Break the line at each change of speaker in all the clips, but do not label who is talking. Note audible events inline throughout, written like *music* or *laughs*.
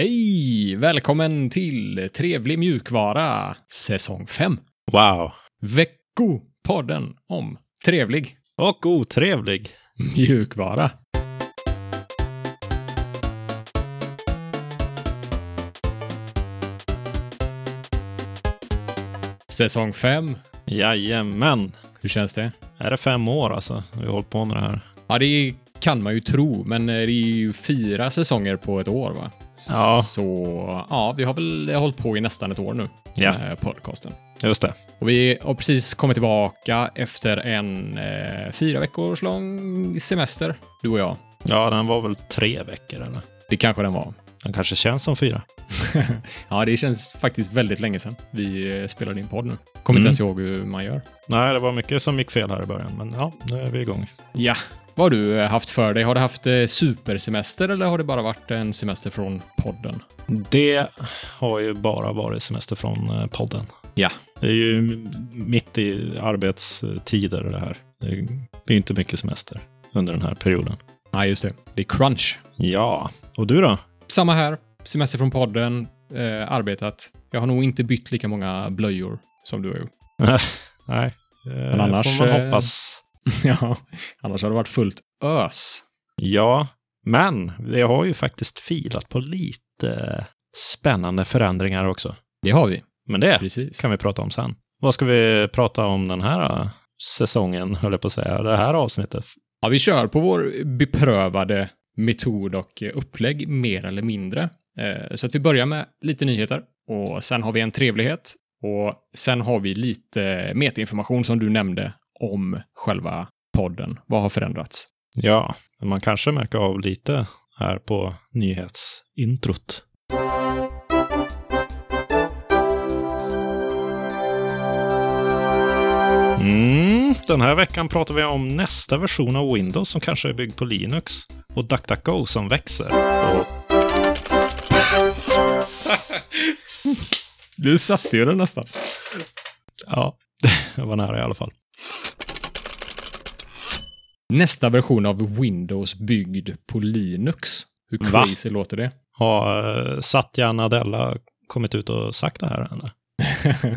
Hej! Välkommen till Trevlig mjukvara, säsong 5.
Wow.
Veckopodden om trevlig
Och otrevlig.
mjukvara. Säsong 5,
Jajamän.
hur känns det?
Är det fem år alltså? Vi har hållit på med det här.
Ja, det kan man ju tro, men eh, det är ju fyra säsonger på ett år, va?
Ja.
Så ja, vi har väl hållit på i nästan ett år nu
Ja.
med podcasten.
Just det.
Och vi har precis kommit tillbaka efter en eh, fyra veckors lång semester, du och jag.
Ja, den var väl tre veckor eller?
Det kanske den var. *laughs*
Den kanske känns som fyra.
ja, det känns faktiskt väldigt länge sedan vi eh, spelade in podd nu. Kommer inte
Mm.
ens ihåg hur man gör.
Nej, det var mycket som gick fel här i början, men ja, nu är vi igång.
Ja, vad har du eh, haft för dig? Har du haft eh, supersemester eller har det bara varit en semester från podden?
Det har ju bara varit semester från eh, podden.
Ja,
Det är ju m- mitt i arbetstider det här. Det är det är ju inte mycket semester under den här perioden.
ja just det. Det är crunch.
Ja, och du då?
Samma här. Semester från podden, eh, arbetat. Jag har nog inte bytt lika många blöjor som du har gjort. *laughs*
Nej, men
annars,
får man
eh,
hoppas.
ja, annars hade det varit fullt ös.
Ja, men vi har ju faktiskt filat på lite spännande förändringar också.
Det har vi.
Men
*laughs*
det
Precis.
kan vi prata om sen. Vad ska vi prata om den här eh, säsongen, höll jag på att säga, det här avsnittet?
Ja, vi kör på vår beprövade metod och eh, upplägg mer eller mindre. Eh, Så att vi börjar med lite nyheter och sen har vi en trevlighet och sen har vi lite metainformation som du nämnde om själva podden. Vad har förändrats?
Ja, man kanske märker av lite här på nyhetsintrot. Mm, den här veckan pratar vi om nästa version av Windows som kanske är byggd på Linux och DuckDuckGo som växer. Och,
Du satte ju den nästan.
*laughs* ja, det var nära i alla fall.
Nästa version av Windows byggd på Linux. Hur
Va?
crazy låter det? *laughs*
Har eh, Satya Nadella kommit ut och sagt det här? Eller?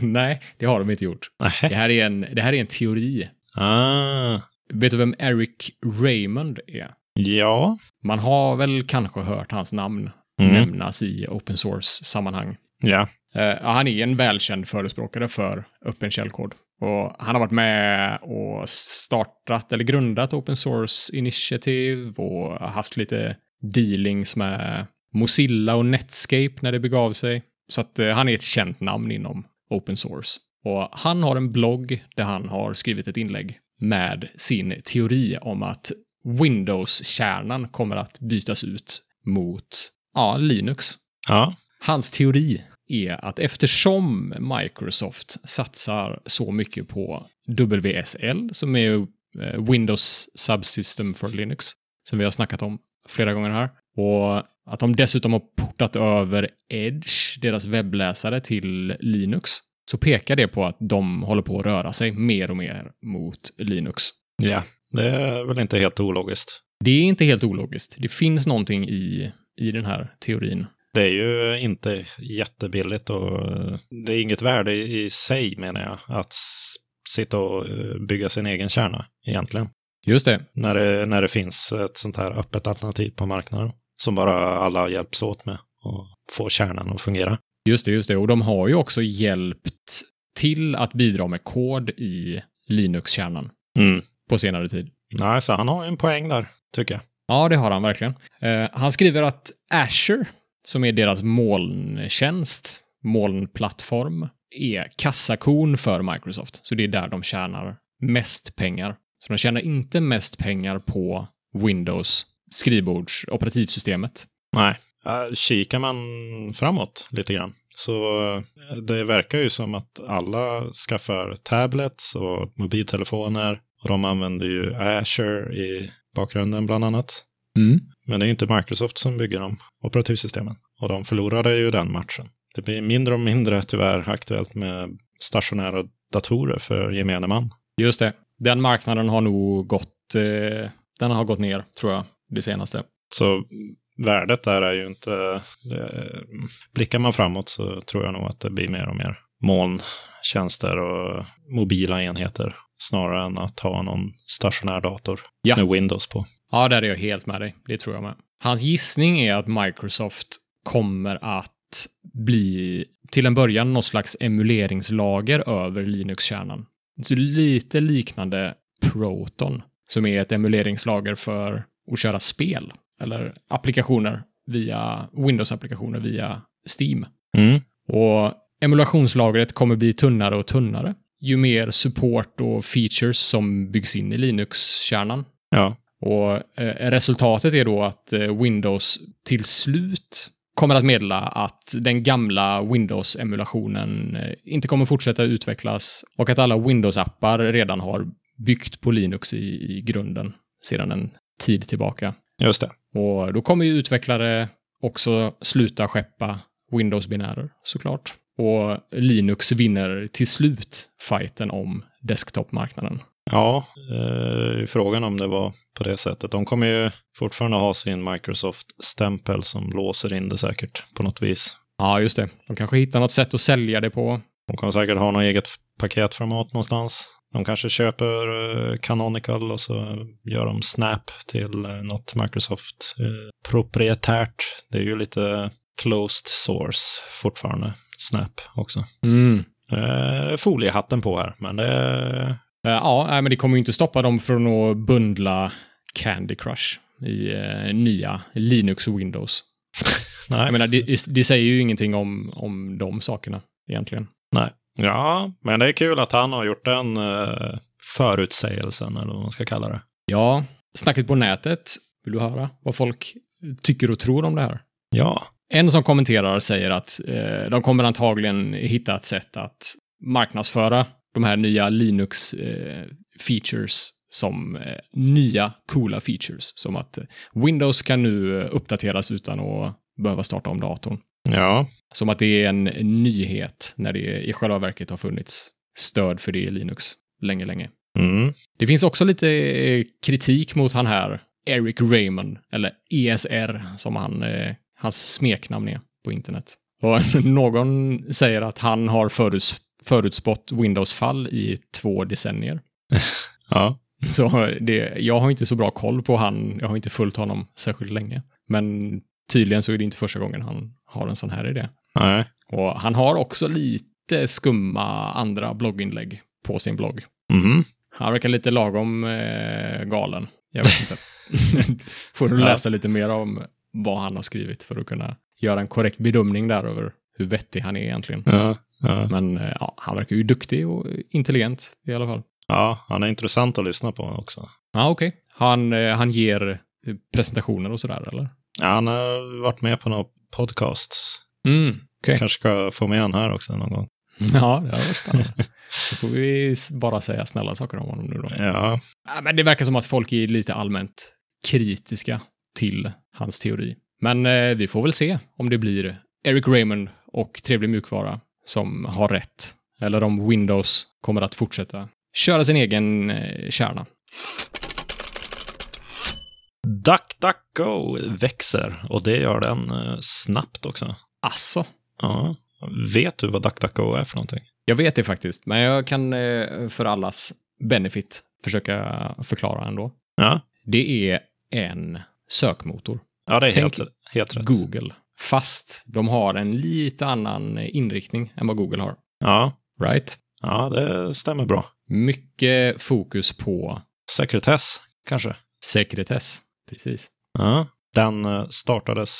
Nej, det har de inte gjort. Det
Nej.
här är en, det här är en teori.
Ah,
Vet du vem Eric Raymond är?
ja.
Man har väl kanske hört hans namn
Mm.
nämnas i open source-sammanhang.
Ja.
Eh, ja, han är en välkänd förespråkare för öppen källkod. Och han har varit med och startat eller grundat open source initiativ och haft lite dealings med Mozilla och Netscape när det begav sig. Så att eh, han är ett känt namn inom open source. Och han har en blogg där han har skrivit ett inlägg med sin teori om att Windows-kärnan kommer att bytas ut mot ja, Linux.
ja.
Hans teori är att eftersom Microsoft satsar så mycket på WSL, som är ju, eh, Windows Subsystem for Linux, som vi har snackat om flera gånger här, och att de dessutom har portat över Edge, deras webbläsare, till Linux, så pekar det på att de håller på att röra sig mer och mer mot Linux.
Ja, det är väl inte helt ologiskt.
Det är inte helt ologiskt. Det finns någonting i, i den här teorin.
Det är ju inte jättebilligt och eh, det är inget värde i sig menar jag, att s- sitta och eh, bygga sin egen kärna egentligen.
Just det.
När det, när det finns ett sånt här öppet alternativ på marknaden som bara alla hjälps åt med och få kärnan att fungera.
Just det, just det. Och de har ju också hjälpt till att bidra med kod i Linux-kärnan
Mm.
på senare tid.
Nej, så han har ju en poäng där, tycker jag.
Ja, det har han verkligen. Eh, han skriver att Azure, som är deras molntjänst, molnplattform, är kassakon för Microsoft. Så det är där de tjänar mest pengar. Så de tjänar inte mest pengar på Windows skrivbords operativsystemet.
Nej. Eh, Kikar man framåt lite grann så eh, det verkar ju som att alla skaffar tablets och mobiltelefoner och de använder ju Azure i bakgrunden bland annat. Men det är ju inte Microsoft som bygger de operativsystemen och de förlorade ju den matchen. Det blir mindre och mindre tyvärr aktuellt med stationära datorer för gemene man.
Just det. Den marknaden har nog gått, eh, den har gått ner, tror jag, det senaste.
Så värdet där är ju inte... Det, blickar man framåt så tror jag nog att det blir mer och mer molntjänster och mobila enheter snarare än att ha någon stationär dator
Ja.
med Windows på.
Ja, där är jag helt med dig. Det tror jag med. Hans gissning är att Microsoft kommer att bli, till en början, någon slags emuleringslager över Linux-kärnan. Så lite liknande Proton, som är ett emuleringslager för att köra spel eller applikationer via Windows-applikationer via Steam.
Mm.
Och emulationslagret kommer bli tunnare och tunnare ju mer support och features som byggs in i Linux-kärnan.
Ja,
Och eh, resultatet är då att eh, Windows till slut kommer att meddela att den gamla Windows-emulationen eh, inte kommer fortsätta utvecklas och att alla Windows-appar redan har byggt på Linux i, i grunden sedan en tid tillbaka.
just det.
Och då kommer ju utvecklare också sluta skeppa Windows-binärer såklart. Och Linux vinner till slut fighten om desktopmarknaden.
Ja, eh, frågan om det var på det sättet. De kommer ju fortfarande ha sin Microsoft-stämpel som låser in det säkert på något vis.
Ja, just det. De kanske hittar något sätt att sälja det på.
De kommer säkert ha något eget paketformat någonstans. De kanske köper eh, Canonical och så gör de Snap till eh, något Microsoft eh, proprietärt. Det är ju lite closed source fortfarande, Snap också.
Mm.
Eh, foliehatten på här, men det...
Eh, Ja, nej, men det kommer ju inte stoppa dem från att bundla Candy Crush i eh, nya Linux och Windows.
Nej.
Jag menar, det, det säger ju ingenting om, om de sakerna egentligen.
Ja, men det är kul att han har gjort den eh, förutsägelsen, eller vad man ska kalla det.
Ja, snacket på nätet. Vill du höra vad folk tycker och tror om det här?
Ja.
En som kommenterar säger att eh, de kommer antagligen hitta ett sätt att marknadsföra de här nya Linux-features som eh, nya coola features. Som att eh, Windows kan nu eh, uppdateras utan att behöva starta om datorn.
Ja.
Som att det är en nyhet när det i själva verket har funnits stöd för det i Linux länge, länge.
Mm.
Det finns också lite eh, kritik mot han här, Eric Raymond, eller ESR som han, eh, hans smeknamn är på internet. Och *laughs* någon säger att han har föruts förutspått Windows fall i två decennier.
Ja.
Så det, jag har inte så bra koll på han, jag har inte följt honom särskilt länge. Men tydligen så är det inte första gången han har en sån här idé.
Nej.
Och han har också lite skumma andra blogginlägg på sin blogg.
Mhm.
Han verkar lite lagom eh, galen. Jag vet inte. Får du
Ja.
läsa lite mer om vad han har skrivit för att kunna göra en korrekt bedömning där över hur vettig han är
*laughs*
egentligen.
Ja. Ja.
Men eh, ja, han verkar ju duktig och intelligent i alla fall.
ja, han är intressant att lyssna på också.
Ja, okej. Han, eh, han ger eh, presentationer och sådär, eller?
Ja, han har varit med på några podcasts.
Mm, okej.
Kanske ska få med han här också någon gång.
*laughs* Ja, det var spännande. Då får vi s- bara säga snälla saker om honom nu då.
Ja.
Ja, men det verkar som att folk är lite allmänt kritiska till hans teori. Men eh, vi får väl se om det blir Eric Raymond och Trevlig mjukvara som har rätt. Eller om Windows kommer att fortsätta köra sin egen eh, kärna.
DuckDuckGo växer och det gör den eh, snabbt också.
Alltså,
Ja. Vet du vad DuckDuckGo är för någonting?
jag vet det faktiskt, men jag kan eh, för allas benefit försöka förklara ändå.
Ja,
Det är en sökmotor.
ja det är
Tänk-
helt, helt rätt.
Google. Fast de har en lite annan inriktning än vad Google har.
Ja.
Right?
ja, det stämmer bra.
Mycket fokus på
Sekretess, kanske?
sekretess. Precis.
Ja. Den eh, startades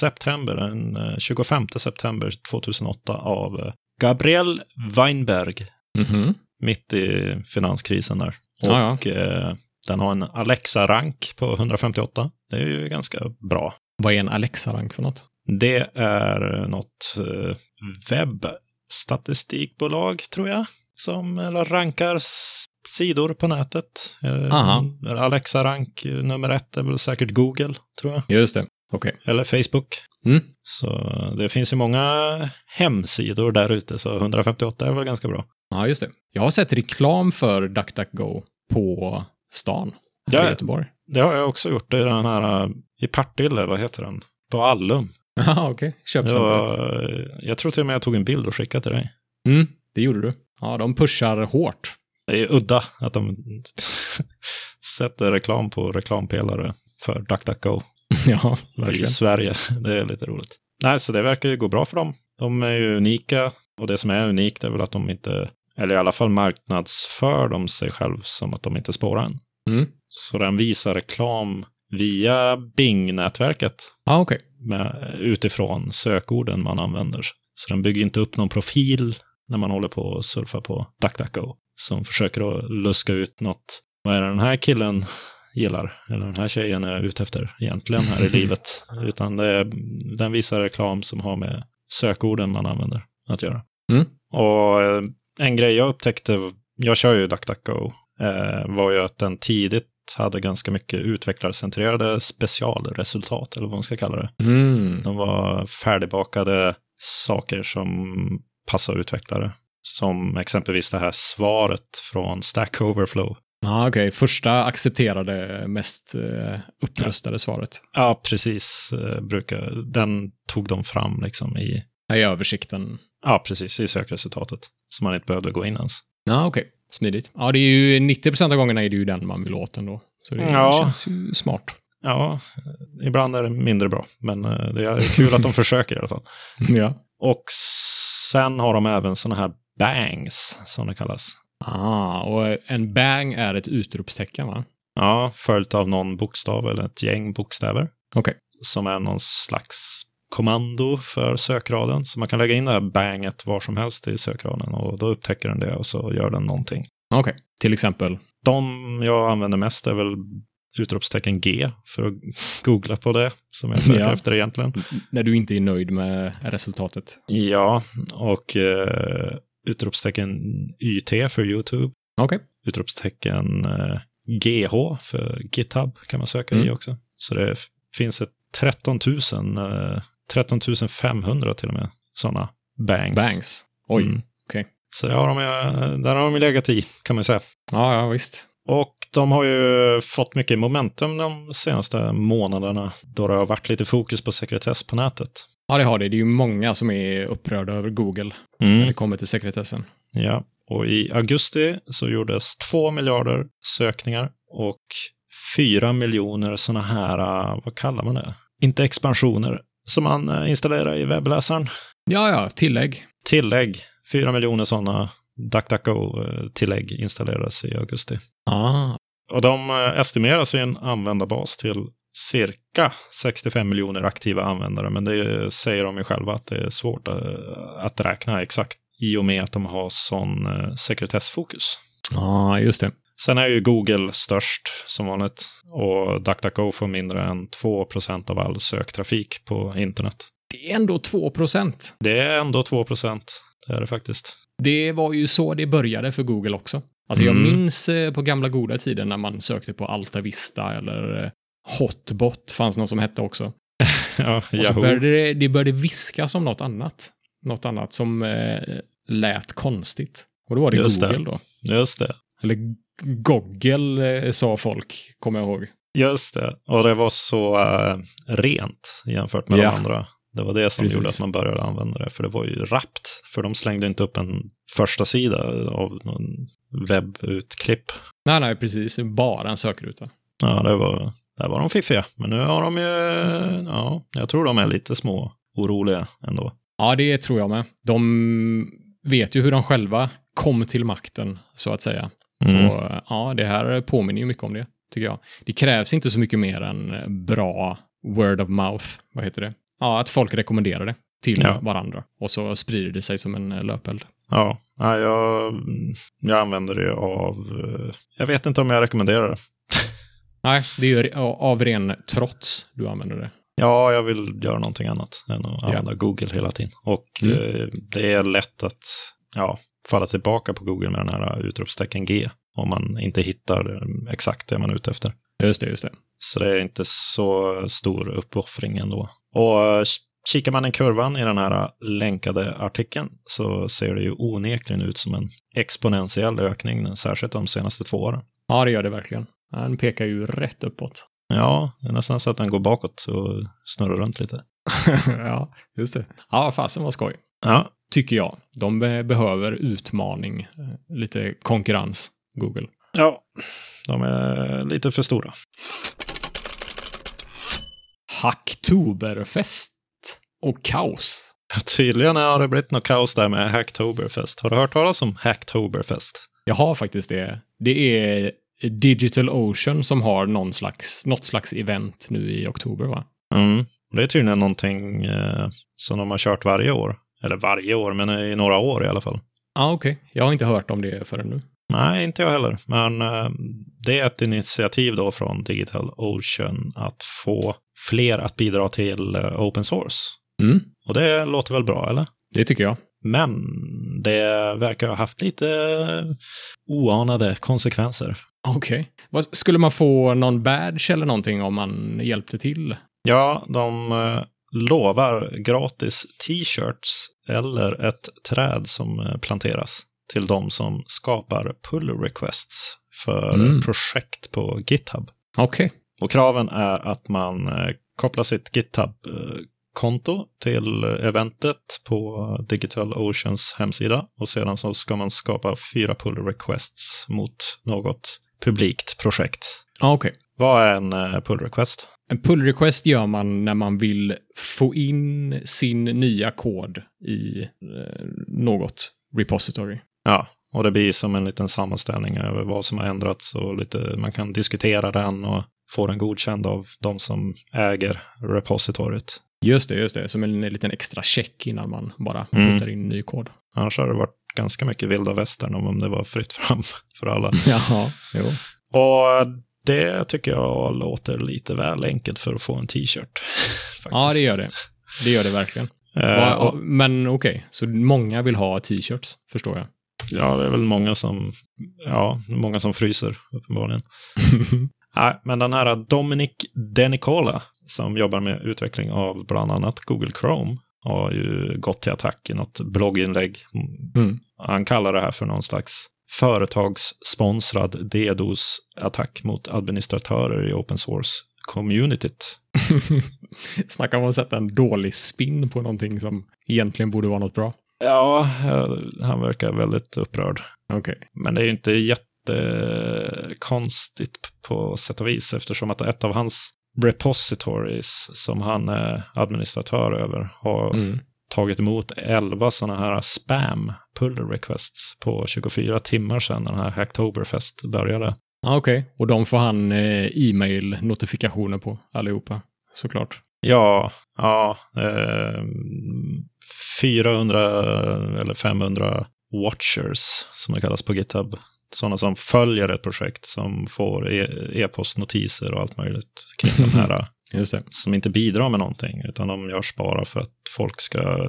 september, den eh, 25 september 2008 av eh, Gabriel Weinberg
Mhm.
mitt i finanskrisen där. Och
Ja, ja.
eh, den har en Alexa-rank på 158. Det är ju ganska bra.
Vad är en Alexa-rank för något?
Det är något eh, webbstatistikbolag, tror jag, som eller, rankar s- sidor på nätet. Eh,
Aha.
Alexa-rank eh, nummer ett är väl säkert Google, tror jag.
Just det. Okej.
Eller Facebook.
Mm.
Så det finns ju många hemsidor där ute, så 158 är väl ganska bra.
Ja, just det. Jag har sett reklam för DuckDuckGo på stan. här
Ja.
i Göteborg. *laughs*
Det har jag också gjort i den här, äh, i Partille, vad heter den? På Allum.
Ja, okej.
Det
Köpcentret.
var, äh, jag tror till och med jag tog en bild och skickade till dig.
Mm, det gjorde du. Ja, de pushar hårt.
Det är udda att de *laughs* sätter reklam på reklampelare för DuckDuckGo
*laughs* ja,
i
verkligen.
Sverige. *laughs* Det är lite roligt. Nej, så det verkar ju gå bra för dem. De är ju unika och det som är unikt är väl att de inte, eller i alla fall marknadsför de sig själv som att de inte spårar en.
Mm.
Så den visar reklam via Bing-nätverket
Ja, okej.
med, utifrån sökorden man använder. Så den bygger inte upp någon profil när man håller på och surfar på DuckDuckGo som försöker att luska ut något. Vad är det den här killen gillar? Eller den här tjejen är ute efter egentligen här i livet? Utan det är, den visar reklam som har med sökorden man använder att göra.
Mm.
Och eh, en grej jag upptäckte, jag kör ju DuckDuckGo, eh, var ju att den tidigt hade ganska mycket utvecklarcentrerade specialresultat, eller vad man ska kalla det.
Mm.
De var färdigbakade saker som passar utvecklare. Som exempelvis det här svaret från Stack Overflow.
Ja, okej. Första accepterade, mest eh, uppröstade svaret.
Ja, precis. eh, Brukar, den tog de fram liksom i,
Här är översikten.
ja, precis, i sökresultatet. Så man inte behövde gå in ens.
Ja, okej. Smidigt. Ja, det är ju 90 av gångerna är det ju den man vill åt ändå. Så det
Ja.
känns ju smart.
Ja, eh, ibland är det mindre bra, men eh, det är kul att de försöker i alla fall.
*laughs* Ja.
Och sen har de även sådana här bangs, som det kallas.
Ah, och en bang är ett utropstecken, va?
Ja, följt av någon bokstav eller ett gäng bokstäver.
Okej.
Som är någon slags kommando för sökraden. Så man kan lägga in det här banget var som helst i sökraden och då upptäcker den det och så gör den någonting.
Okej. Till exempel.
De jag använder mest är väl utropstecken G för att *laughs* googla på det som jag söker
Ja.
efter egentligen.
När du inte är nöjd med resultatet.
Ja, och eh, utropstecken YT för YouTube.
Okej.
utropstecken eh, GH för GitHub kan man söka i
Mm.
också. Så det f- finns ett 13 000, eh, 13 500 till och med sådana bangs.
Bangs. Oj.
Mm.
okej.
Så där har, de, ju- där har de ju legat i kan man ju säga.
Ja, ja, visst.
Och de har ju fått mycket momentum de senaste månaderna då det har varit lite fokus på sekretess på nätet.
Ja, det har det. Det är ju många som är upprörda över Google när det kommer till sekretessen.
Ja, och i augusti så gjordes 2 miljarder sökningar och 4 miljoner sådana här, eh, vad kallar man det? Inte expansioner, som man eh, installerar i webbläsaren.
Ja, ja, tillägg.
Tillägg, 4 miljoner sådana DuckDuckGo-tillägg installerades i augusti.
Ah,
Och de eh, estimerar sin användarbas till cirka 65 miljoner aktiva användare, men det säger de ju själva att det är svårt eh, att räkna exakt i och med att de har sån eh, sekretessfokus.
ah just det.
Sen är ju Google störst som vanligt och DuckDuckGo får mindre än 2 av all söktrafik på internet.
Det är ändå 2 procent.
Det är ändå 2 det är det faktiskt.
Det var ju så det började för Google också. Alltså
Mm.
jag minns eh, på gamla goda tider när man sökte på Alta Vista eller eh, Hotbot fanns någon som hette också.
*laughs* Ja,
Och så
Yahoo.
började det, det började viskas om något annat. Något annat som eh, lät konstigt. Och då var det
Just det.
Google då.
Just det.
Eller Goggle eh, sa folk, kommer jag ihåg.
Just det. Och det var så eh, rent jämfört med
Ja.
de andra. Det var det som
Precis.
gjorde att man började använda det, för det var ju rappt. För de slängde inte upp en första sida av någon webbutklipp.
Nej, nej, precis. Bara en sökruta.
Ja, det var, där var de fiffiga. Men nu har de ju, ja, jag tror de är lite små oroliga ändå.
Ja, det tror jag med. De vet ju hur de själva kom till makten, så att säga.
Mm.
Så ja, det här påminner ju mycket om det, tycker jag. Det krävs inte så mycket mer än bra word of mouth, vad heter det? Ja, att folk rekommenderar det till
Ja.
varandra. Och så sprider det sig som en eh, löpeld.
Ja, nej, jag, jag använder det av, eh, jag vet inte om jag rekommenderar det.
Nej, det är ju re- av ren trots du använder det.
Ja, jag vill göra någonting annat än att
Ja.
använda Google hela tiden. Och
Mm.
eh, det är lätt att ja, falla tillbaka på Google med den här eh, utropstecken G om man inte hittar eh, exakt det man är ute efter.
Just det, just det.
Så det är inte så stor uppoffring ändå. Och eh, kikar man i kurvan i den här eh, länkade artikeln så ser det ju onekligen ut som en exponentiell ökning, särskilt de senaste två åren.
Ja, det gör det verkligen. Den pekar ju rätt uppåt. *laughs*
Ja, det är nästan så att den går bakåt och snurrar runt lite.
ja, just det. Ja, fasen var skoj.
Ja,
Tycker jag. De be- behöver utmaning, eh, lite konkurrens, Google.
ja. de är lite för stora.
Hacktoberfest och kaos.
Tydligen har det blivit något kaos där med Hacktoberfest. Har du hört talas om Hacktoberfest?
Jag har faktiskt det. Det är Digital Ocean som har någon slags, något slags event nu i oktober, va?
Mm. Det är tydligen någonting eh, som de har kört varje år. Eller varje år, men i några år i alla fall.
Ja, ah, okej. Jag har inte hört om det förrän nu.
Nej, inte jag heller. Men eh, det är ett initiativ då från Digital Ocean att få fler att bidra till eh, open source.
Mm,
Och det låter väl bra, eller?
det tycker jag.
Men det verkar ha haft lite oanade konsekvenser.
Okej. Vad- Skulle man få någon badge eller någonting om man hjälpte till?
Ja, de eh, lovar gratis t-shirts eller ett träd som eh, planteras till de som skapar pull requests för
Mm.
projekt på GitHub.
Okej.
Och kraven är att man eh, kopplar sitt GitHub-konto till eh, eventet på Digital Oceans hemsida och sedan så ska man skapa fyra pull requests mot något publikt projekt.
Ja, okej.
Vad är en eh, pull request?
En pull request gör man när man vill få in sin nya kod i eh, något repository.
Ja, och det blir som en liten sammanställning över vad som har ändrats och lite, man kan diskutera den och få den godkänd av de som äger repositoriet.
Just det, just det. Som en liten extra check innan man bara
Mm.
puttar in ny kod.
Annars hade det varit ganska mycket vilda västern om det var fritt fram *laughs* för alla.
Jaha, jo.
Och det tycker jag låter lite väl enkelt för att få en t-shirt. *laughs*
Ja, det gör det. Det gör det *laughs* verkligen.
Eh,
Va-
och,
Men okej, så många vill ha t-shirts, förstår *laughs* jag.
ja, det är väl många som, ja, många som fryser uppenbarligen. Nej, men den här Dominic Denicola som jobbar med utveckling av bland annat Google Chrome har ju gått till attack i något blogginlägg.
Mm.
Han kallar det här för någon slags företagssponsrad DDoS-attack mot administratörer i open source-communityt.
Snacka om att sätta en dålig spin på någonting som egentligen borde vara något bra.
Ja, eh, han verkar väldigt upprörd.
Okej.
Men det är ju inte jättekonstigt på sätt och vis eftersom att ett av hans repositories som han är administratör över har
Mm.
tagit emot 11 sådana här spam pull requests på 24 timmar sedan den här Hacktoberfest började.
Ja, Okej, och de får han eh, e-mail-notifikationer på allihopa, såklart.
Ja, ja, eh, 400 eller 500 watchers som det kallas på GitHub. Sådana som följer ett projekt som får e- e-postnotiser och allt möjligt kring de här
Just det.
som inte bidrar med någonting utan de görs bara för att folk ska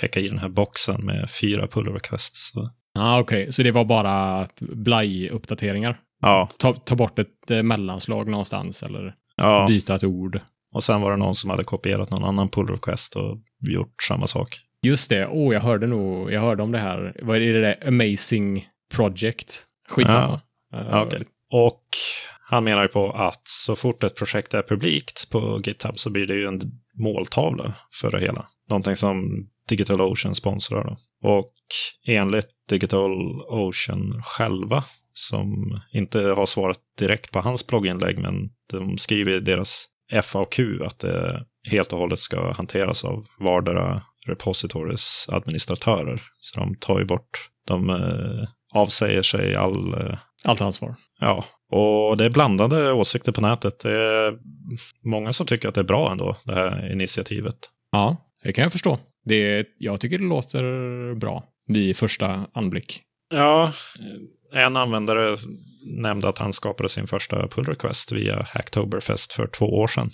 checka i den här boxen med fyra pull requests. Så,
Ja, Okej, så det var bara blaj-uppdateringar.
Ja,
Ta, ta bort ett eh, mellanslag någonstans eller
ja.
byta ett ord.
Och sen var det någon som hade kopierat någon annan pull request och gjort samma sak.
Just det, oh, jag hörde nog, jag hörde om det här. Vad är det där? Amazing Project? Skitsamma. Eh,
Ja, okej. Och han menar ju på att så fort ett projekt är publikt på GitHub så blir det ju en måltavla för det hela. Någonting som Digital Ocean sponsrar då. Och enligt Digital Ocean själva, som inte har svarat direkt på hans blogginlägg, men de skriver i deras FAQ att det helt och hållet ska hanteras av vardera repositories administratörer. Så de tar ju bort, de eh, avsäger sig all eh,
Allt ansvar.
Ja, och det är blandade åsikter på nätet. Det är många som tycker att det är bra ändå, det här initiativet.
Ja, det kan jag förstå. Det, jag tycker det låter bra vid första anblick.
Ja. En användare nämnde att han skapade sin första pull request via Hacktoberfest för två år sedan.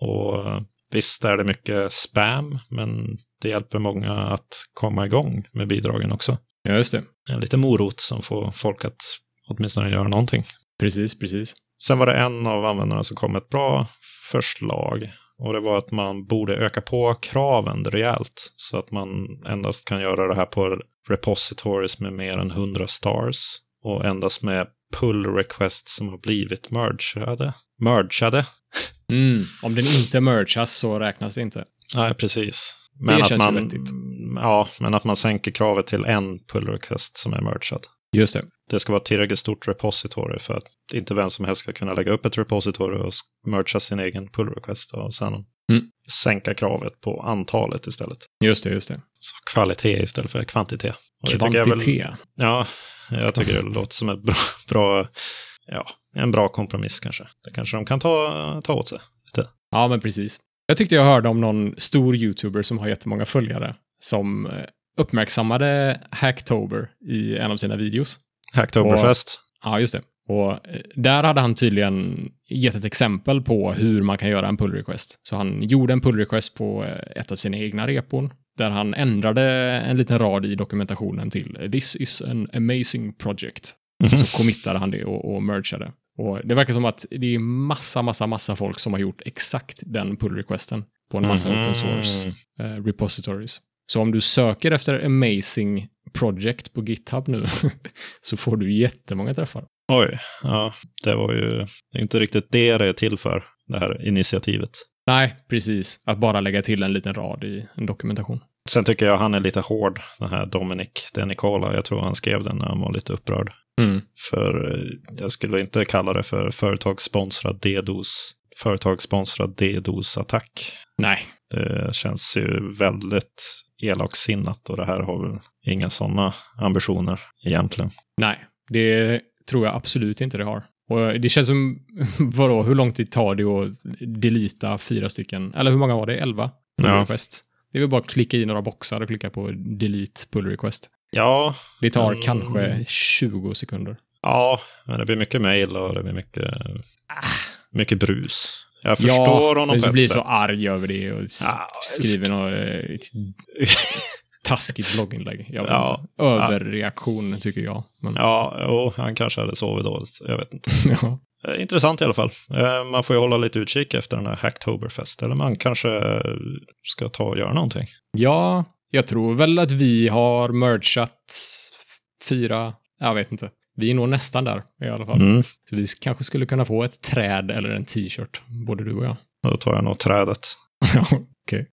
Och visst är det mycket spam, men det hjälper många att komma igång med bidragen också.
Ja, just det.
En liten morot som får folk att åtminstone göra någonting.
Precis, precis.
Sen var det en av användarna som kom med ett bra förslag. Och det var att man borde öka på kraven rejält. Så att man endast kan göra det här på repositories med mer än 100 stars. Och endast med pull requests som har blivit mergade. Mergade?
Mm. Om den inte mergas så räknas det inte.
Nej, precis.
Det
att
känns ju
man,
vettigt.
Ja, men att man sänker kravet till en pull request som är mergad.
Just det.
Det ska vara tillräckligt stort repository för att inte vem som helst ska kunna lägga upp ett repository och s- merga sin egen pull request och sen
Mm.
sänka kravet på antalet istället.
Just det, just det.
Så kvalitet istället för kvantitet. Och det tycker jag väl-
Kvantitet.
Ja, jag tycker det låter som ett bra, *laughs* bra, ja, en bra kompromiss kanske. Det kanske de kan ta, ta åt sig.
Ja, men precis. Jag tyckte jag hörde om någon stor YouTuber som har jättemånga följare som eh, uppmärksammade Hacktober i en av sina videos.
Hacktoberfest.
Ja, just det. Och eh, där hade han tydligen gett ett exempel på hur man kan göra en pull request. Så han gjorde en pull request på eh, ett av sina egna repon där han ändrade en liten rad i dokumentationen till eh, “This is an amazing project”.
Mhm. *laughs*
Så committade han det och, och mergade. Och det verkar som att det är massa, massa, massa folk som har gjort exakt den pull requesten på en massa open source
Mhm.
eh, repositories. Så om du söker efter amazing project på GitHub nu *laughs* så får du jättemånga träffar.
Oj, ja, det var ju det är inte riktigt det det är till för, det här initiativet.
Nej, precis. Att bara lägga till en liten rad i en dokumentation.
Sen tycker jag han är lite hård, den här Dominic De Nicola. Jag tror han skrev den när han var lite upprörd.
Mm.
För eh, jag skulle inte kalla det för företagssponsrad DDoS, företagssponsrad DDoS-attack.
Nej,
Det känns ju väldigt elaksinnat och det här har väl inga sådana ambitioner egentligen.
nej. Det tror jag absolut inte det har. Och det känns som, *laughs* vadå, hur lång tid tar det att delita fyra stycken, eller hur många var det? Elva? Pull
Ja.
requests. Det är väl bara att klicka i några boxar och klicka på delete pull request.
Ja,
Det tar
Mm.
kanske 20 sekunder.
ja, men det blir mycket mejl och det blir mycket, mycket brus. Jag
Ah. ja,
förstår honom på
du
ett
blir
sätt.
så arg över det och s-
Ja,
skriver något eh, taskigt blogginlägg. Jag vet
Ja,
inte. Överreaktion tycker jag. Men,
*laughs* Ja, jo, han kanske hade sovit dåligt. Jag vet inte.
*laughs* ja.
Eh, Intressant i alla fall. Eh, Man får ju hålla lite utkik efter den här Hacktoberfest. Eller man kanske eh, ska ta och göra någonting.
Ja, jag tror väl att vi har mergat fyra, jag vet inte. Vi är nog nästan där i alla fall.
Mm.
Så vi kanske skulle kunna få ett träd eller en t-shirt, både du och jag. *laughs*
Då tar jag nog trädet.
Ja, Okej.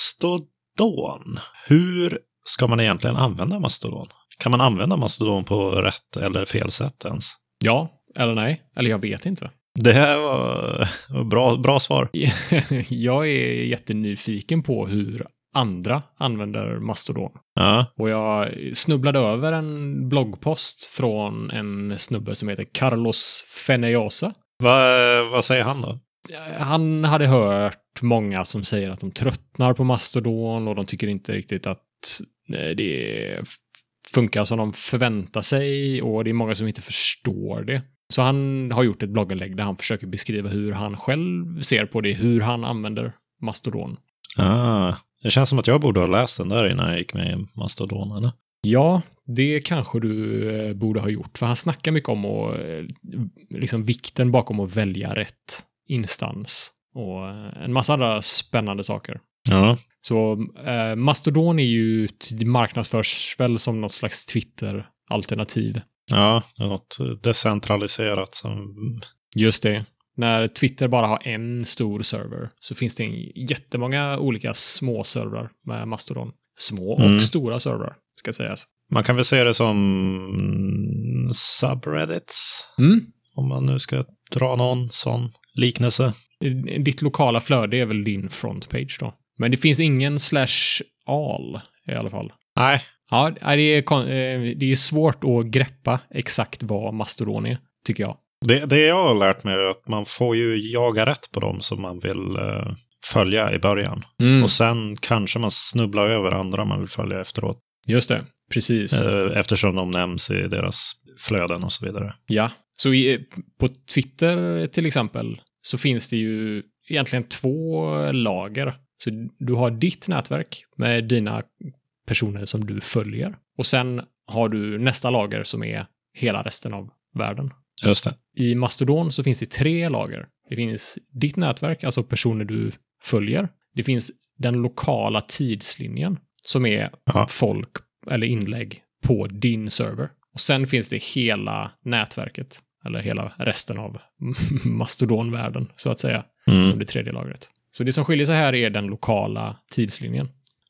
Mastodon. Hur ska man egentligen använda mastodon? Kan man använda mastodon på rätt eller fel sätt ens?
Ja, eller nej, eller jag vet inte. *laughs*
Det här var var bra, bra svar.
jag är jättenyfiken på hur andra använder Mastodon.
Ja,
Och jag snubblade över en bloggpost från en snubbe som heter Carlos Feneosa.
vad, vad säger han då?
Eh, han hade hört många som säger att de tröttnar på Mastodon och de tycker inte riktigt att eh, det f- funkar som de förväntar sig och det är många som inte förstår det. Så han har gjort ett blogginlägg där han försöker beskriva hur han själv ser på det, hur han använder Mastodon.
Ah, det känns som att jag borde ha läst den där innan jag gick med i mastodon. Eller?
Ja, det kanske du eh, borde ha gjort, för han snackar mycket om och, eh, liksom vikten bakom att välja rätt instans och eh, en massa andra spännande saker.
Ja.
Så eh, Mastodon är ju det marknadsförs väl som något slags Twitter-alternativ.
ja, det är något decentraliserat som...
Just det. När Twitter bara har en stor server så finns det en- jättemånga olika små servrar med Mastodon. Små och
Mm.
stora servrar, ska sägas.
Man kan väl se det som subreddits,
Mm.
om man nu ska dra någon sån liknelse.
Ditt lokala flöde är väl din frontpage då. Men det finns ingen slash all i alla fall.
Nej,
Ja, nej, det är, kon- eh, det är svårt att greppa exakt vad Mastodon är, tycker jag.
Det, det jag har lärt mig är att man får ju jaga rätt på dem som man vill eh, följa i början.
Mm.
Och sen kanske man snubblar över andra man vill följa efteråt.
Just det, precis.
Eh, eftersom de nämns i deras flöden och så vidare.
Ja, så i, på Twitter till exempel så finns det ju egentligen två lager. Så du har ditt nätverk med dina personer som du följer och sen har du nästa lager som är hela resten av världen.
Just det.
I Mastodon så finns det tre lager. Det finns ditt nätverk, alltså personer du följer. Det finns den lokala tidslinjen som är
Ja.
folk eller inlägg på din server. Och sen finns det hela nätverket, eller hela resten av *laughs* mastodonvärlden, så att säga,
Mm.
som det tredje lagret. Så det som skiljer sig här är den lokala tidslinjen.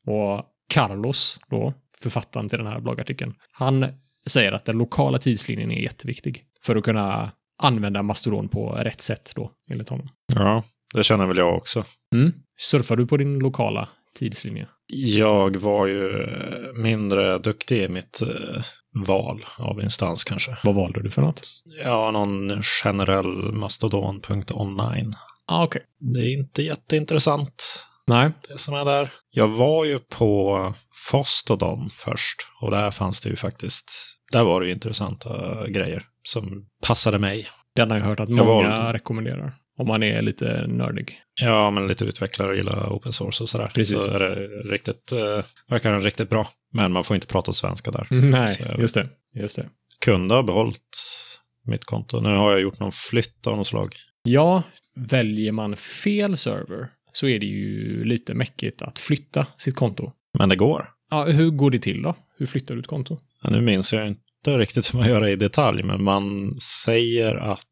Och Carlos, då, författaren till den här bloggartikeln, han säger att den lokala tidslinjen är jätteviktig för att kunna använda Mastodon på rätt sätt då, enligt honom.
Ja, det känner väl jag också.
Mm. Surfar du på din lokala tidslinje?
Jag var ju eh, mindre duktig i mitt eh, val av instans kanske.
Vad valde du för något?
Ja, någon generell mastodon.online.
Ah, okej.
Det är inte jätteintressant
Nej.
det som är där. Jag var ju på Fostodon först och där fanns det ju faktiskt, där var det ju intressanta grejer som passade mig.
Den har jag hört att många
Jag valde.
rekommenderar. Om man är lite nördig. *laughs*
Ja, men lite utvecklare och gillar open source och sådär.
Precis.
Så är det riktigt, eh, verkar den riktigt bra. Men man får inte prata svenska där.
Nej,
Så jag-
just det. Just det.
Kunde ha behållit mitt konto. Nu har jag gjort någon flytt av något slag.
Ja, väljer man fel server så är det ju lite mäckigt att flytta sitt konto.
Men det går.
Ja, hur går det till då? Hur flyttar du ett konto?
Ja, nu minns jag inte riktigt hur man gör det i detalj, men man säger att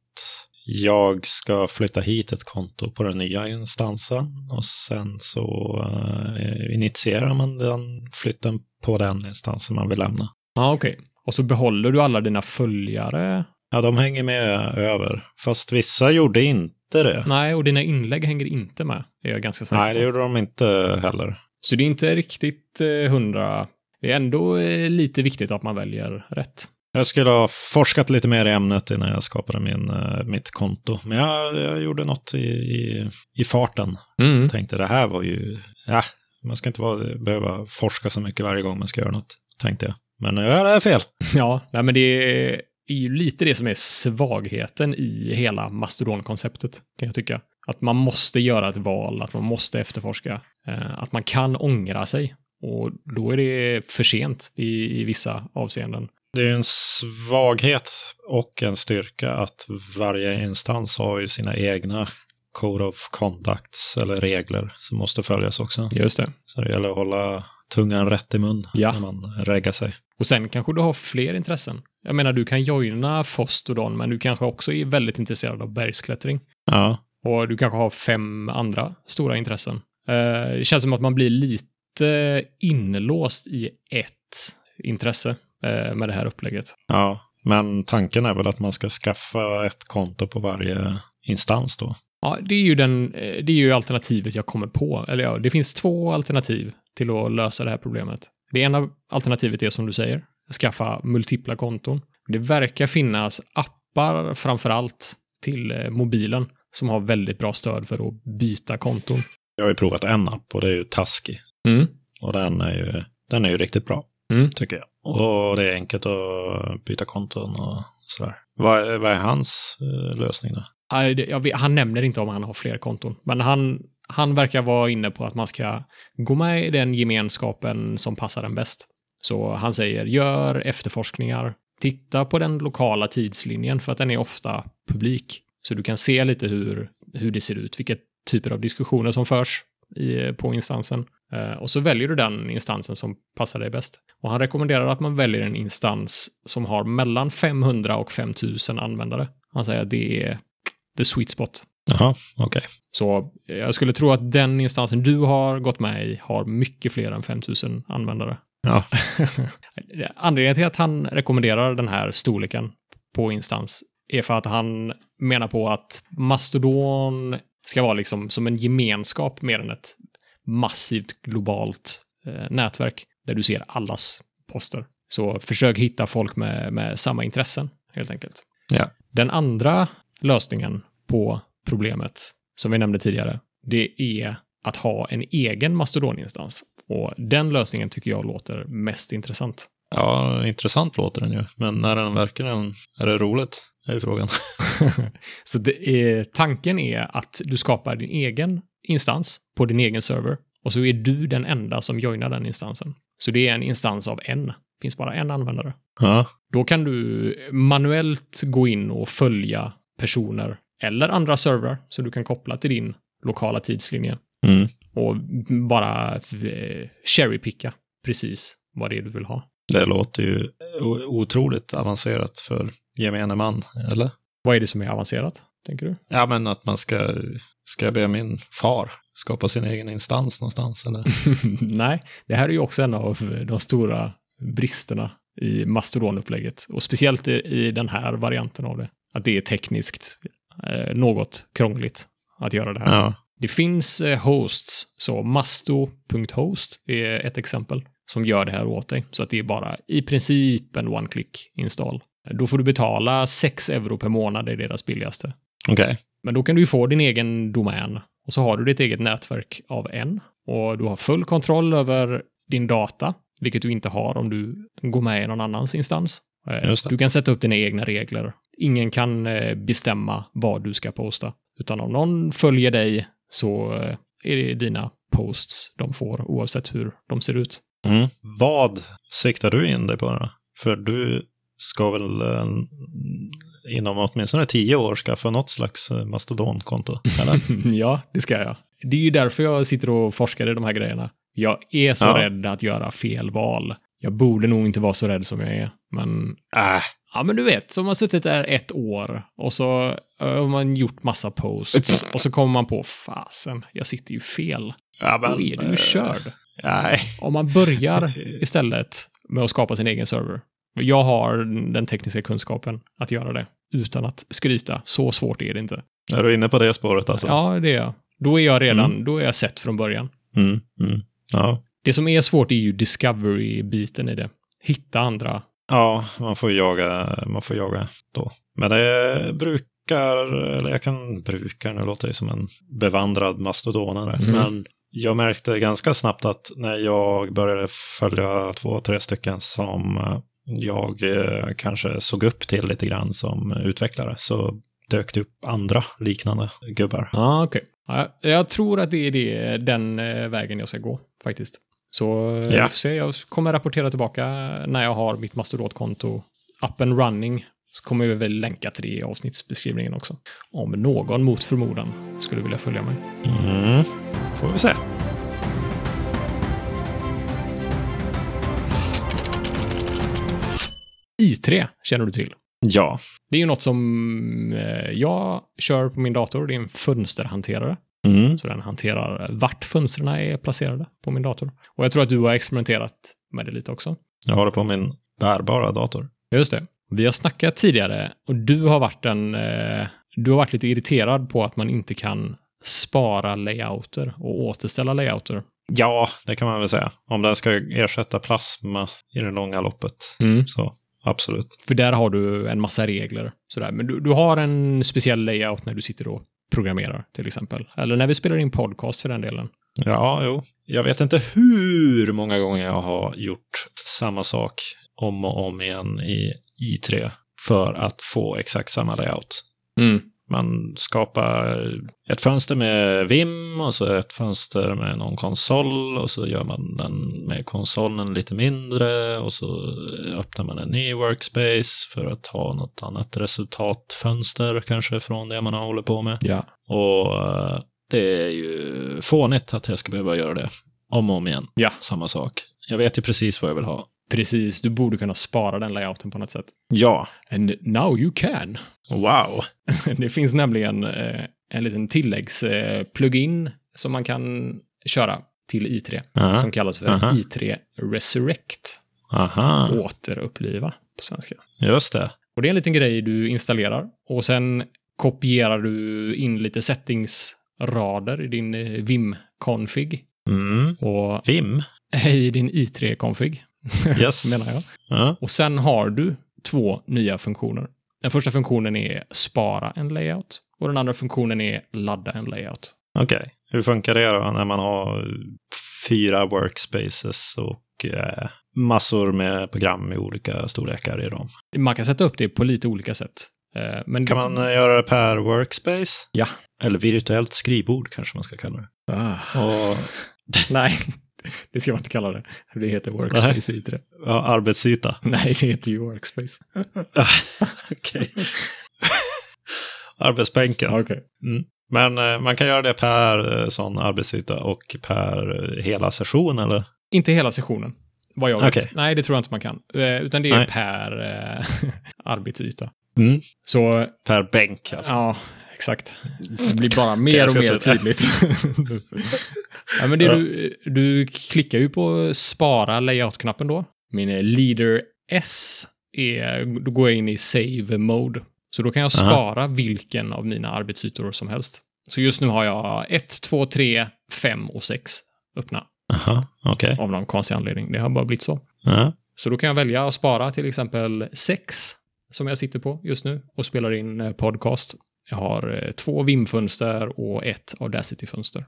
jag ska flytta hit ett konto på den nya instansen och sen så eh, initierar man den flytten på den instansen man vill lämna.
Ja, okej. Och så behåller du alla dina följare.
Ja, de hänger med över, fast vissa gjorde inte det.
Nej, och dina inlägg hänger inte med, är jag ganska säker
Nej, det
på.
gjorde de inte heller.
Så det är inte riktigt eh, hundra. Det är ändå eh, lite viktigt att man väljer rätt.
Jag skulle ha forskat lite mer i ämnet innan jag skapade min, eh, mitt konto, men jag, jag gjorde något i, i, i farten.
Mm.
Jag tänkte det här var ju, ja, man ska inte vara, behöva forska så mycket varje gång man ska göra något, tänkte jag. Men nu är det fel.
Ja, nej, men det är ju lite det som är svagheten i hela mastodonkonceptet, kan jag tycka. Att man måste göra ett val, att man måste efterforska, eh, att man kan ångra sig. Och då är det för sent i, i vissa avseenden.
Det är ju en svaghet och en styrka att varje instans har ju sina egna code of conducts eller regler som måste följas också.
Just det.
Så det gäller att hålla tungan rätt i mun
Ja.
när man reggar sig.
Och sen kanske du har fler intressen. Jag menar, du kan joina Fostodon, men du kanske också är väldigt intresserad av bergsklättring.
Ja,
Och du kanske har fem andra stora intressen. Eh, Det känns som att man blir lite inlåst i ett intresse eh, med det här upplägget.
ja. Men tanken är väl att man ska skaffa ett konto på varje instans då.
Ja, det är ju, den, eh, det är ju alternativet jag kommer på. Eller ja, det finns två alternativ till att lösa det här problemet. Det ena alternativet är som du säger, skaffa multipla konton. Det verkar finnas appar framför allt till eh, mobilen som har väldigt bra stöd för att byta konton.
Jag har ju provat en app och det är ju Taski.
Mm.
Och den är ju, den är ju riktigt bra,
Mm.
tycker jag. Och det är enkelt att byta konton och sådär. Vad, är- vad är hans eh, lösning då?
Nej, det- Jag vet, han nämner inte om han har fler konton, men han, han verkar vara inne på att man ska gå med i den gemenskapen som passar en bäst. Så han säger, gör efterforskningar, titta på den lokala tidslinjen för att den är ofta publik. Så du kan se lite hur, hur det ser ut, vilka typer av diskussioner som förs i, på instansen. Eh, Och så väljer du den instansen som passar dig bäst. Och han rekommenderar att man väljer en instans som har mellan 500 och 5000 användare. Han säger att det är the sweet spot.
Jaha, okej.
Så eh, jag skulle tro att den instansen du har gått med i har mycket fler än 5000 användare.
Ja.
*laughs* Anledningen till att han rekommenderar den här storleken på instans är för att han menar på att Mastodon ska vara liksom som en gemenskap mer än ett massivt globalt eh, nätverk där du ser allas poster. Så försök hitta folk med, med samma intressen helt enkelt.
Ja.
Den andra lösningen på problemet som vi nämnde tidigare, det är att ha en egen mastodoninstans. Och den lösningen tycker jag låter mest intressant. *laughs*
Ja, intressant låter den ju. Men när den verkar den, är det roligt? Det är ju frågan. *laughs*
Så det är, tanken är att du skapar din egen instans på din egen server och så är du den enda som joinar den instansen. Så det är en instans av en. Det finns bara en användare.
Ja,
Då kan du manuellt gå in och följa personer eller andra servrar så du kan koppla till din lokala tidslinje.
mm.
och bara eh, cherrypicka precis vad det är du vill ha.
Det låter ju o- otroligt avancerat för gemene man, eller?
Vad är det som är avancerat, tänker du?
Ja, men att man ska, ska jag be min far skapa sin egen instans någonstans, eller?
Nej, det här är ju också en av de stora bristerna i Mastodon-upplägget. Och speciellt i, i den här varianten av det. Att det är tekniskt eh, något krångligt att göra det här.
Ja.
Det finns eh, hosts, så masto.host är ett exempel som gör det här åt dig. Så att det är bara i princip en one-click install. Då får du betala 6 euro per månad, det är deras billigaste.
Okej.
Men då kan du ju få din egen domän och så har du ditt eget nätverk av en och du har full kontroll över din data, vilket du inte har om du går med i någon annans instans. Eh,
Just det.
Du kan sätta upp dina egna regler. Ingen kan eh, bestämma vad du ska posta, utan om någon följer dig så eh, är det dina posts de får oavsett hur de ser ut.
Mm. Vad siktar du in dig på då? För du ska väl eh, inom åtminstone tio år skaffa något slags eh, mastodonkonto, eller?
Mm, ja, det ska jag. Det är ju därför jag sitter och forskar i de här grejerna. Jag är så
Ja.
rädd att göra fel val. Jag borde nog inte vara så rädd som jag är, men...
Äh,
Ja, men du vet, så har man suttit där ett år och så eh, har man gjort massa posts och så kommer man på fasen, jag sitter ju fel.
ja,
Då är du ju
eh,
körd.
Nej.
Om man
*laughs*
börjar istället med att skapa sin egen server. Jag har den tekniska kunskapen att göra det utan att skryta. Så svårt är det inte.
Är du inne på det spåret alltså?
Ja, det är jag. Då är jag redan, då är jag sett från början.
Mm, mm. Ja.
Det som är svårt är ju discovery-biten i det. Hitta andra.
ja, man får jaga, man får jaga då. Men det brukar, eller jag kan brukar, nu låter jag som en bevandrad mastodonare,
Mm.
men jag märkte ganska snabbt att när jag började följa två, tre stycken som eh, jag eh, kanske såg upp till lite grann som utvecklare så dök det upp andra liknande gubbar.
Ah, okay. Ja, Jag tror att det är det, den eh, vägen jag ska gå, faktiskt. Så eh,
Ja.
vi får se. Jag kommer rapportera tillbaka när jag har mitt mastodotkonto up and running. Så kommer vi väl länka till det i avsnittsbeskrivningen också. Om någon mot förmodan skulle vilja följa mig.
Mm. Får vi se.
I3 känner du till.
Ja.
Det är ju något som eh, jag kör på min dator. Det är en fönsterhanterare.
Mm.
Så den hanterar vart fönstren är placerade på min dator. Och jag tror att du har experimenterat med det lite också.
Jag har det på min bärbara dator.
Just det. Vi har snackat tidigare och du har varit en... Eh, du har varit lite irriterad på att man inte kan spara layouter och återställa layouter.
Ja, det kan man väl säga. Om den ska ersätta plasma i det långa loppet. Så absolut.
Mm. För där har du en massa regler. Sådär. Men du, du har en speciell layout när du sitter och programmerar till exempel. Eller när vi spelar in podcast för den delen.
Ja, jo. Jag vet inte hur många gånger jag har gjort samma sak om och om igen i i3 för att få exakt samma layout. Man skapar ett fönster med Vim och så ett fönster med någon konsol och så gör man den med konsolen lite mindre och så öppnar man en ny workspace för att ha något annat resultatfönster kanske från det man håller på med.
Ja.
Och eh, det är ju fånigt att jag ska behöva göra det om och om igen.
Ja.
Samma sak. Jag vet ju precis vad jag vill ha.
Precis, du borde kunna spara den layouten på något sätt.
Ja.
And now you can.
Wow.
*laughs* Det finns nämligen eh, en liten tilläggs-plugin eh, plugin som man kan köra till i3
Aha.
som kallas för
Aha.
i3 Resurrect,
Aha.
återuppliva på svenska.
Just det.
Och det är en liten grej du installerar och sen kopierar du in lite settingsrader i din eh, vim-config
Mm.
och *laughs*
Vim.
i din i3-config *laughs*
Yes.
menar jag.
Ja.
Och sen har du två nya funktioner. Den första funktionen är spara en layout och den andra funktionen är ladda en layout.
Okej. Hur funkar det då när man har fyra workspaces och eh, massor med program i olika storlekar i dem?
Man kan sätta upp det på lite olika sätt. Eh, Men
Kan man eh, göra det per workspace?
Ja.
Eller virtuellt skrivbord kanske man ska kalla det.
Ah,
Och
nej, *laughs* det ska man inte kalla det. Det heter workspace i det. *laughs*
ja, arbetsyta. *laughs*
Nej, det heter ju workspace.
Okej. Arbetsbänken.
Okej.
Men eh, man kan göra det per eh, sån arbetsyta och per eh, hela session eller?
Inte hela sessionen. Vad jag vet.
Okej.
Nej, det tror jag inte man kan. Eh, utan det är
Nej.
per eh, *laughs* arbetsyta.
Mm.
Så
Per bänk alltså. Mm.
Ja, exakt. Det blir bara mer
jag
och
ska
mer
sluta. *laughs*
tydligt. ja, men det du, du klickar ju på spara layout-knappen då. Min eh, leader S är, då går jag in i save mode. Så då kan jag
Aha.
spara vilken av mina arbetsytor som helst. Så just nu har jag 1, 2, 3, 5 och 6 öppna
Aha, okej.
av någon konstig anledning. Det har bara blivit så.
Ja.
Så då kan jag välja att spara till exempel 6 som jag sitter på just nu och spelar in eh, podcast. Jag har eh, två VIM-fönster och ett Audacity-fönster.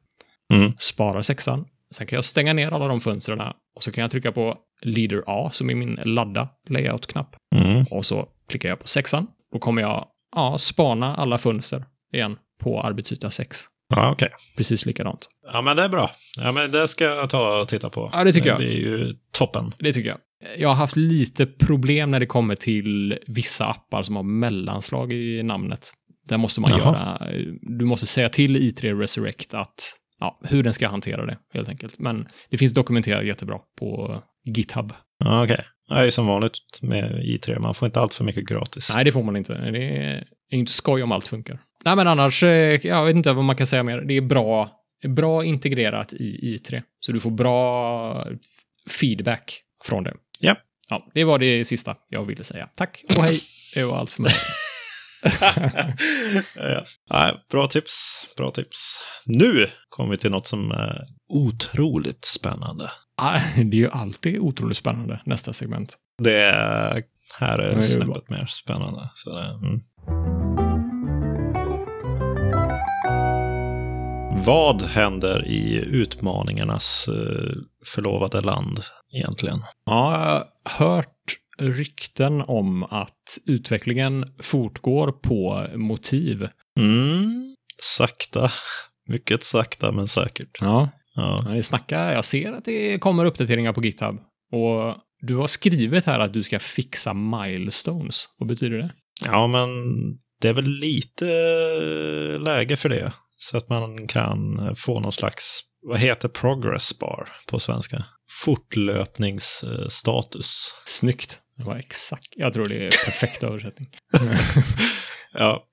Mm.
Spara sexan. Sen kan jag stänga ner alla de fönstren och så kan jag trycka på Leader A som är min ladda layout-knapp.
Mm.
Och så klickar jag på sexan. Då kommer jag ja, spana alla fönster igen på arbetsyta 6.
Ja, okej.
Precis likadant.
Ja, men det är bra. Ja, men det ska jag ta och titta på.
Ja, det tycker jag.
Det är ju toppen.
Det tycker jag. Jag har haft lite problem när det kommer till vissa appar som har mellanslag i namnet. Där måste man
Jaha.
göra, du måste säga till i3 Resurrect att, ja, hur den ska hantera det helt enkelt. Men det finns dokumenterat jättebra på GitHub.
Ja, okej. Det är ju som vanligt med i3. Man får inte allt för mycket gratis.
Nej, det får man inte. Det är inte skoj om allt funkar. Nej, men annars, eh, jag vet inte vad man kan säga mer. Det är bra, bra integrerat i i3. Så du får bra f- feedback från det.
Ja.
Ja, det var det sista jag ville säga. Tack och hej. Det var allt för mig.
*laughs* ja. Nej, bra tips. Bra tips. Nu kommer vi till något som är otroligt spännande.
*laughs* Ah, Det är ju alltid otroligt spännande, nästa segment.
Det är, här
det
är
är
snäppet mer spännande. Så, det- mm. Vad händer i utmaningarnas eh, förlovade land egentligen?
Ja, jag har hört rykten om att utvecklingen fortgår på motiv.
Mm, sakta. Mycket sakta men säkert.
Ja,
Ja.
Ja, det snackar. Jag ser att det kommer uppdateringar på GitHub. Och du har skrivit här att du ska fixa milestones. Vad betyder det?
ja, men det är väl lite eh, läge för det. Så att man kan få någon slags, vad heter progress bar på svenska? Fortlöpningsstatus.
Snyggt. Det var exakt. Jag tror det är perfekt översättning.
Ja,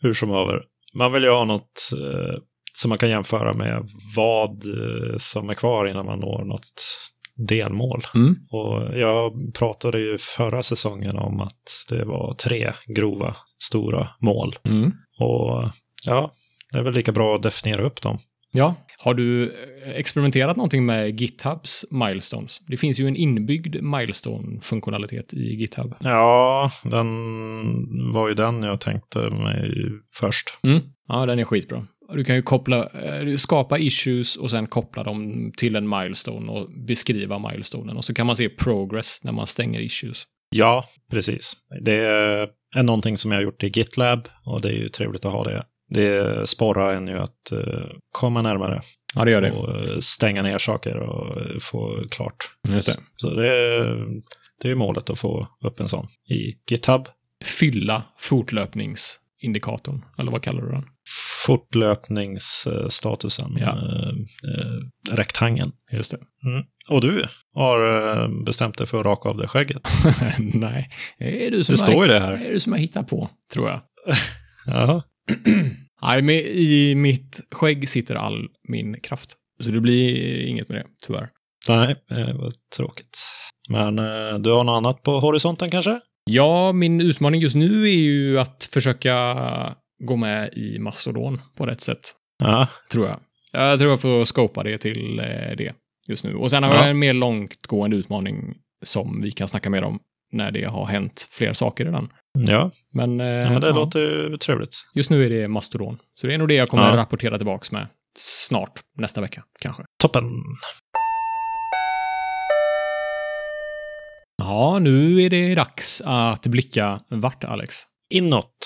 hur som haver. Man vill ju ha något eh, som man kan jämföra med vad eh, som är kvar innan man når något delmål.
*laughs* Mm.
Och jag pratade ju förra säsongen om att det var tre grova, stora mål.
Mm.
Och ja, det är väl lika bra att definiera upp dem.
Ja, har du eh, experimenterat någonting med GitHubs milestones? Det finns ju en inbyggd milestone-funktionalitet i GitHub.
Ja, den var ju den jag tänkte mig först.
Mm. Ja, den är skitbra. Du kan ju koppla, eh, du skapa issues och sen koppla dem till en milestone och beskriva milestonen. Och så kan man se progress när man stänger issues.
Ja, precis. Det är någonting som jag har gjort i GitLab och det är ju trevligt att ha det. Det sporrar en ju att eh, komma närmare
Ja, det gör det.
och eh, stänga ner saker och eh, få klart.
Just det.
Så det är, det är ju målet att få upp en sån i GitHub.
fylla fortlöpningsindikatorn, eller vad kallar du den?
Fortlöpningsstatusen,
Ja.
eh, eh, rektangeln.
Just det.
Och du har eh, bestämt dig för att raka av dig skägget.
*laughs* Nej, det är du som
Det står
har,
ju det här.
det är du som har hittat på, tror jag.
Jaha.
Nej, men i mitt skägg sitter all min kraft. Så det blir inget med det, tyvärr.
Nej, eh, vad tråkigt. Men eh, du har något annat på horisonten kanske?
Ja, min utmaning just nu är ju att försöka gå med i Mastodon på rätt sätt.
Ja.
Tror jag. Jag tror jag får skopa det till eh, det just nu. Och sen har
Ja.
jag en mer långtgående utmaning som vi kan snacka mer om när det har hänt fler saker redan.
Ja,
Men, eh,
ja men det
ja,
låter ju trevligt.
just nu är det mastodon. Så det är nog det jag kommer
Ja.
rapportera tillbaks med snart, nästa vecka kanske.
Toppen.
Ja, nu är det dags att blicka vart, Alex?
Inåt,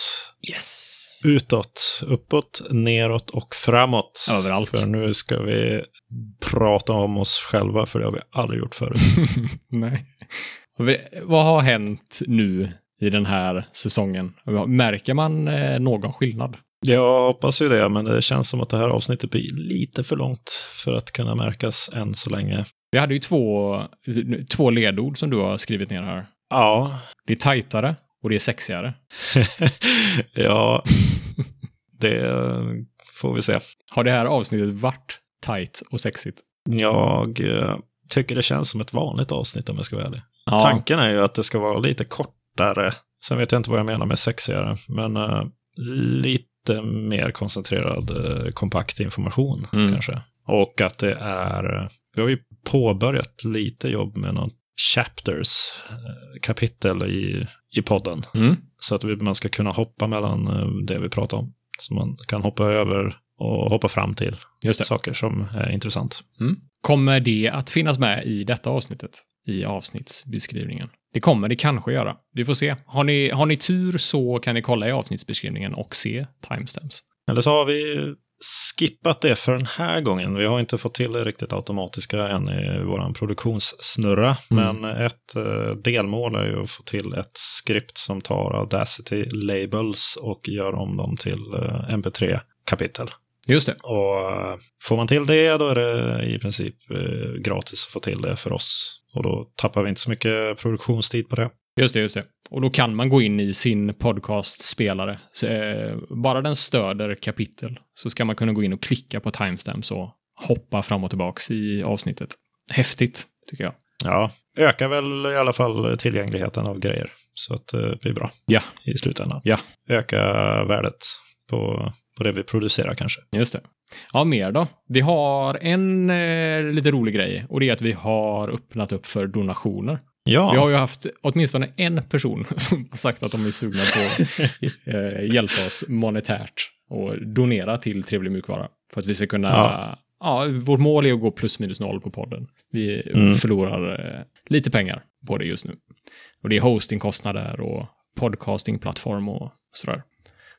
Yes!
utåt, uppåt, neråt och framåt.
Överallt.
För nu ska vi prata om oss själva, för det har vi aldrig gjort förut.
*laughs* Nej. Och vi- Vad har hänt nu i den här säsongen? Märker man eh, någon skillnad?
Jag hoppas ju det, men det känns som att det här avsnittet blir lite för långt för att kunna märkas än så länge.
Vi hade ju två, två ledord som du har skrivit ner här.
Ja,
Det är tajtare och det är sexigare.
*laughs* ja, det får vi se.
Har det här avsnittet varit tajt och sexigt?
Jag eh, tycker det känns som ett vanligt avsnitt om jag ska vara ärlig.
Ja.
Tanken är ju att det ska vara lite kortare. Sen vet jag inte vad jag menar med sexigare, men eh, lite mer koncentrerad, eh, kompakt information
Mm.
kanske. Och att det är, vi har ju påbörjat lite jobb med någon chapters, eh, kapitel i, i podden.
Mm.
Så att vi, man ska kunna hoppa mellan eh, det vi pratar om. Så man kan hoppa över och hoppa fram till
Just det.
saker som är intressant.
Mm. Kommer det att finnas med i detta avsnittet? I avsnittsbeskrivningen? Det kommer det kanske göra. Vi får se. Har ni, har ni tur så kan ni kolla i avsnittsbeskrivningen och se timestamps.
Eller så har vi skippat det för den här gången. Vi har inte fått till det riktigt automatiska än i vår produktionssnurra.
Mm.
Men ett eh, delmål är ju att få till ett skript som tar Audacity labels och gör om dem till eh, mp3-kapitel.
Just det.
Och eh, får man till det då är det i princip eh, gratis att få till det för oss. Och då tappar vi inte så mycket produktionstid på det.
Just det, just det. Och då kan man gå in i sin podcastspelare. Så, eh, bara den stöder kapitel så ska man kunna gå in och klicka på timestamps och hoppa fram och tillbaks i avsnittet. Häftigt, tycker jag.
Ja, ökar väl i alla fall tillgängligheten av grejer. Så att eh, det blir bra
Ja.
i slutändan.
Ja.
Öka värdet på, på det vi producerar kanske.
Just det. Ja, mer då. Vi har en eh, lite rolig grej och det är att vi har öppnat upp för donationer.
Ja, *laughs*
Vi har ju haft åtminstone en person *laughs* som har sagt att de är sugna på att eh, hjälpa oss monetärt och donera till Trevlig Mjukvara. För att vi ska kunna... Ja.
Ja.
vårt mål är att gå plus minus noll på podden. Vi
Mm.
förlorar eh, lite pengar på det just nu. Och det är hostingkostnader och podcastingplattform och sådär.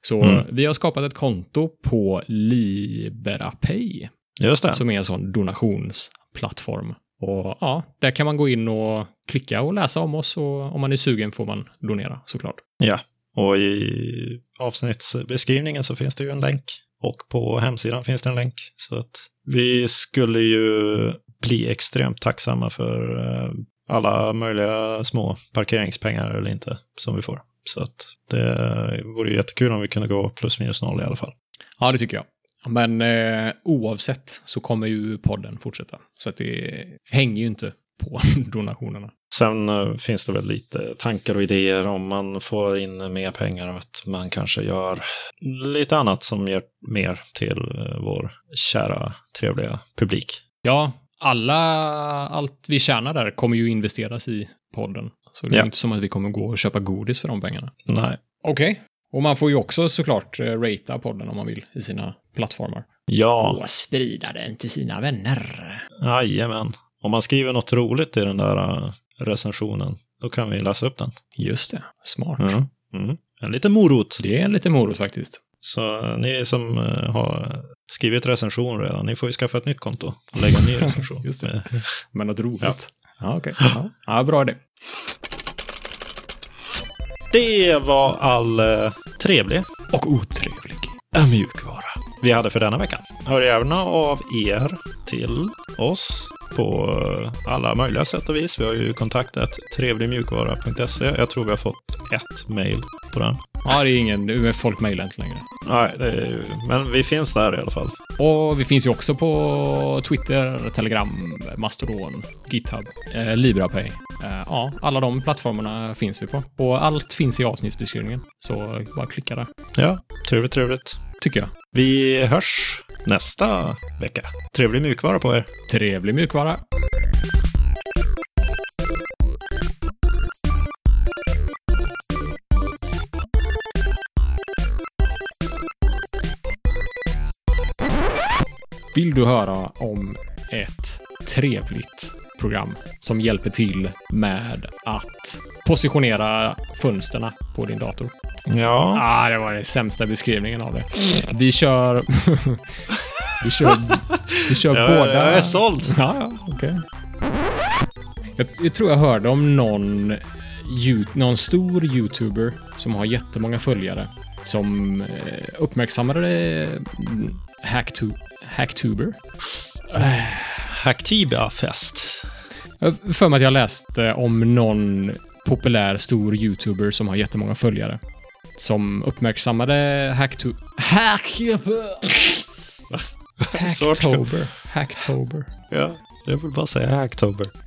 Så eh,
Mm.
vi har skapat ett konto på Liberapay
just det.
som är en sån donationsplattform. Och ja, där kan man gå in och klicka och läsa om oss och om man är sugen får man donera såklart.
Ja. Och i avsnittsbeskrivningen så finns det ju en länk. Och på hemsidan finns det en länk. Så att vi skulle ju bli extremt tacksamma för eh, alla möjliga små parkeringspengar eller inte som vi får. Så att det vore ju jättekul om vi kunde gå plus minus noll i alla fall.
Ja, det tycker jag. Men eh, oavsett så kommer ju podden fortsätta. Så att det hänger ju inte på *laughs* donationerna.
Sen eh, finns det väl lite tankar och idéer om man får in mer pengar att man kanske gör lite annat som ger mer till eh, vår kära trevliga publik.
Ja, alla, allt vi tjänar där kommer ju investeras i podden. Så det är
Ja.
inte som att vi kommer gå och köpa godis för de pengarna.
Nej.
Okej. Och man får ju också såklart eh, ratea podden om man vill i sina plattformar.
Ja,
sprida den till sina vänner.
jajamän. Om man skriver något roligt i den där eh, recensionen, då kan vi läsa upp den.
Just det, smart.
Mm. En liten morot.
Det är lite morot faktiskt.
Så eh, ni som eh, har skrivit recension redan, ni får ju skaffa ett nytt konto och lägga en *laughs* ny recension.
Just
det.
Men att roligt.
Ja.
Ja, okej. Ja. ja, bra det.
det var all eh, trevlig
Och otrevlig.
en mjukvara vi hade för denna veckan. Hör gärna av er till oss på äh, alla möjliga sätt och vis. Vi har ju kontaktat trevligmjukvara.se. Jag tror vi har fått ett mejl på den.
Ja, det är ingen, det är folk mejlar inte längre.
Nej, det är, ju- men vi finns där i alla fall.
Och vi finns ju också på Twitter, Telegram, Mastodon, GitHub, eh, LibraPay. Eh, ja, alla de plattformarna finns vi på. Och allt finns i avsnittsbeskrivningen. Så bara klicka där,
Ja, trevligt, trevligt.
tycker jag.
Vi hörs nästa vecka. Trevlig mjukvara på er.
Trevlig mjukvara. Vill du höra om ett trevligt program som hjälper till med att positionera fönsterna på din dator?
Ja.
Ah, det var den sämsta beskrivningen av det. Vi kör... *laughs* vi kör, vi kör båda...
Jag är såld.
*laughs* Ja, ja, okej. Jag, jag tror jag hörde om någon, eh, you, någon stor YouTuber som har jättemånga följare som eh, uppmärksammade eh, hack to, Hacktuber.
Hacktiba-fest.
Jag har för mig att jag läste om någon populär stor youtuber som har jättemånga följare. Som uppmärksammade Hacktu... Hack...
Svårt.
Hacktober. Hacktober.
Ja, jag vill bara säga Hacktober.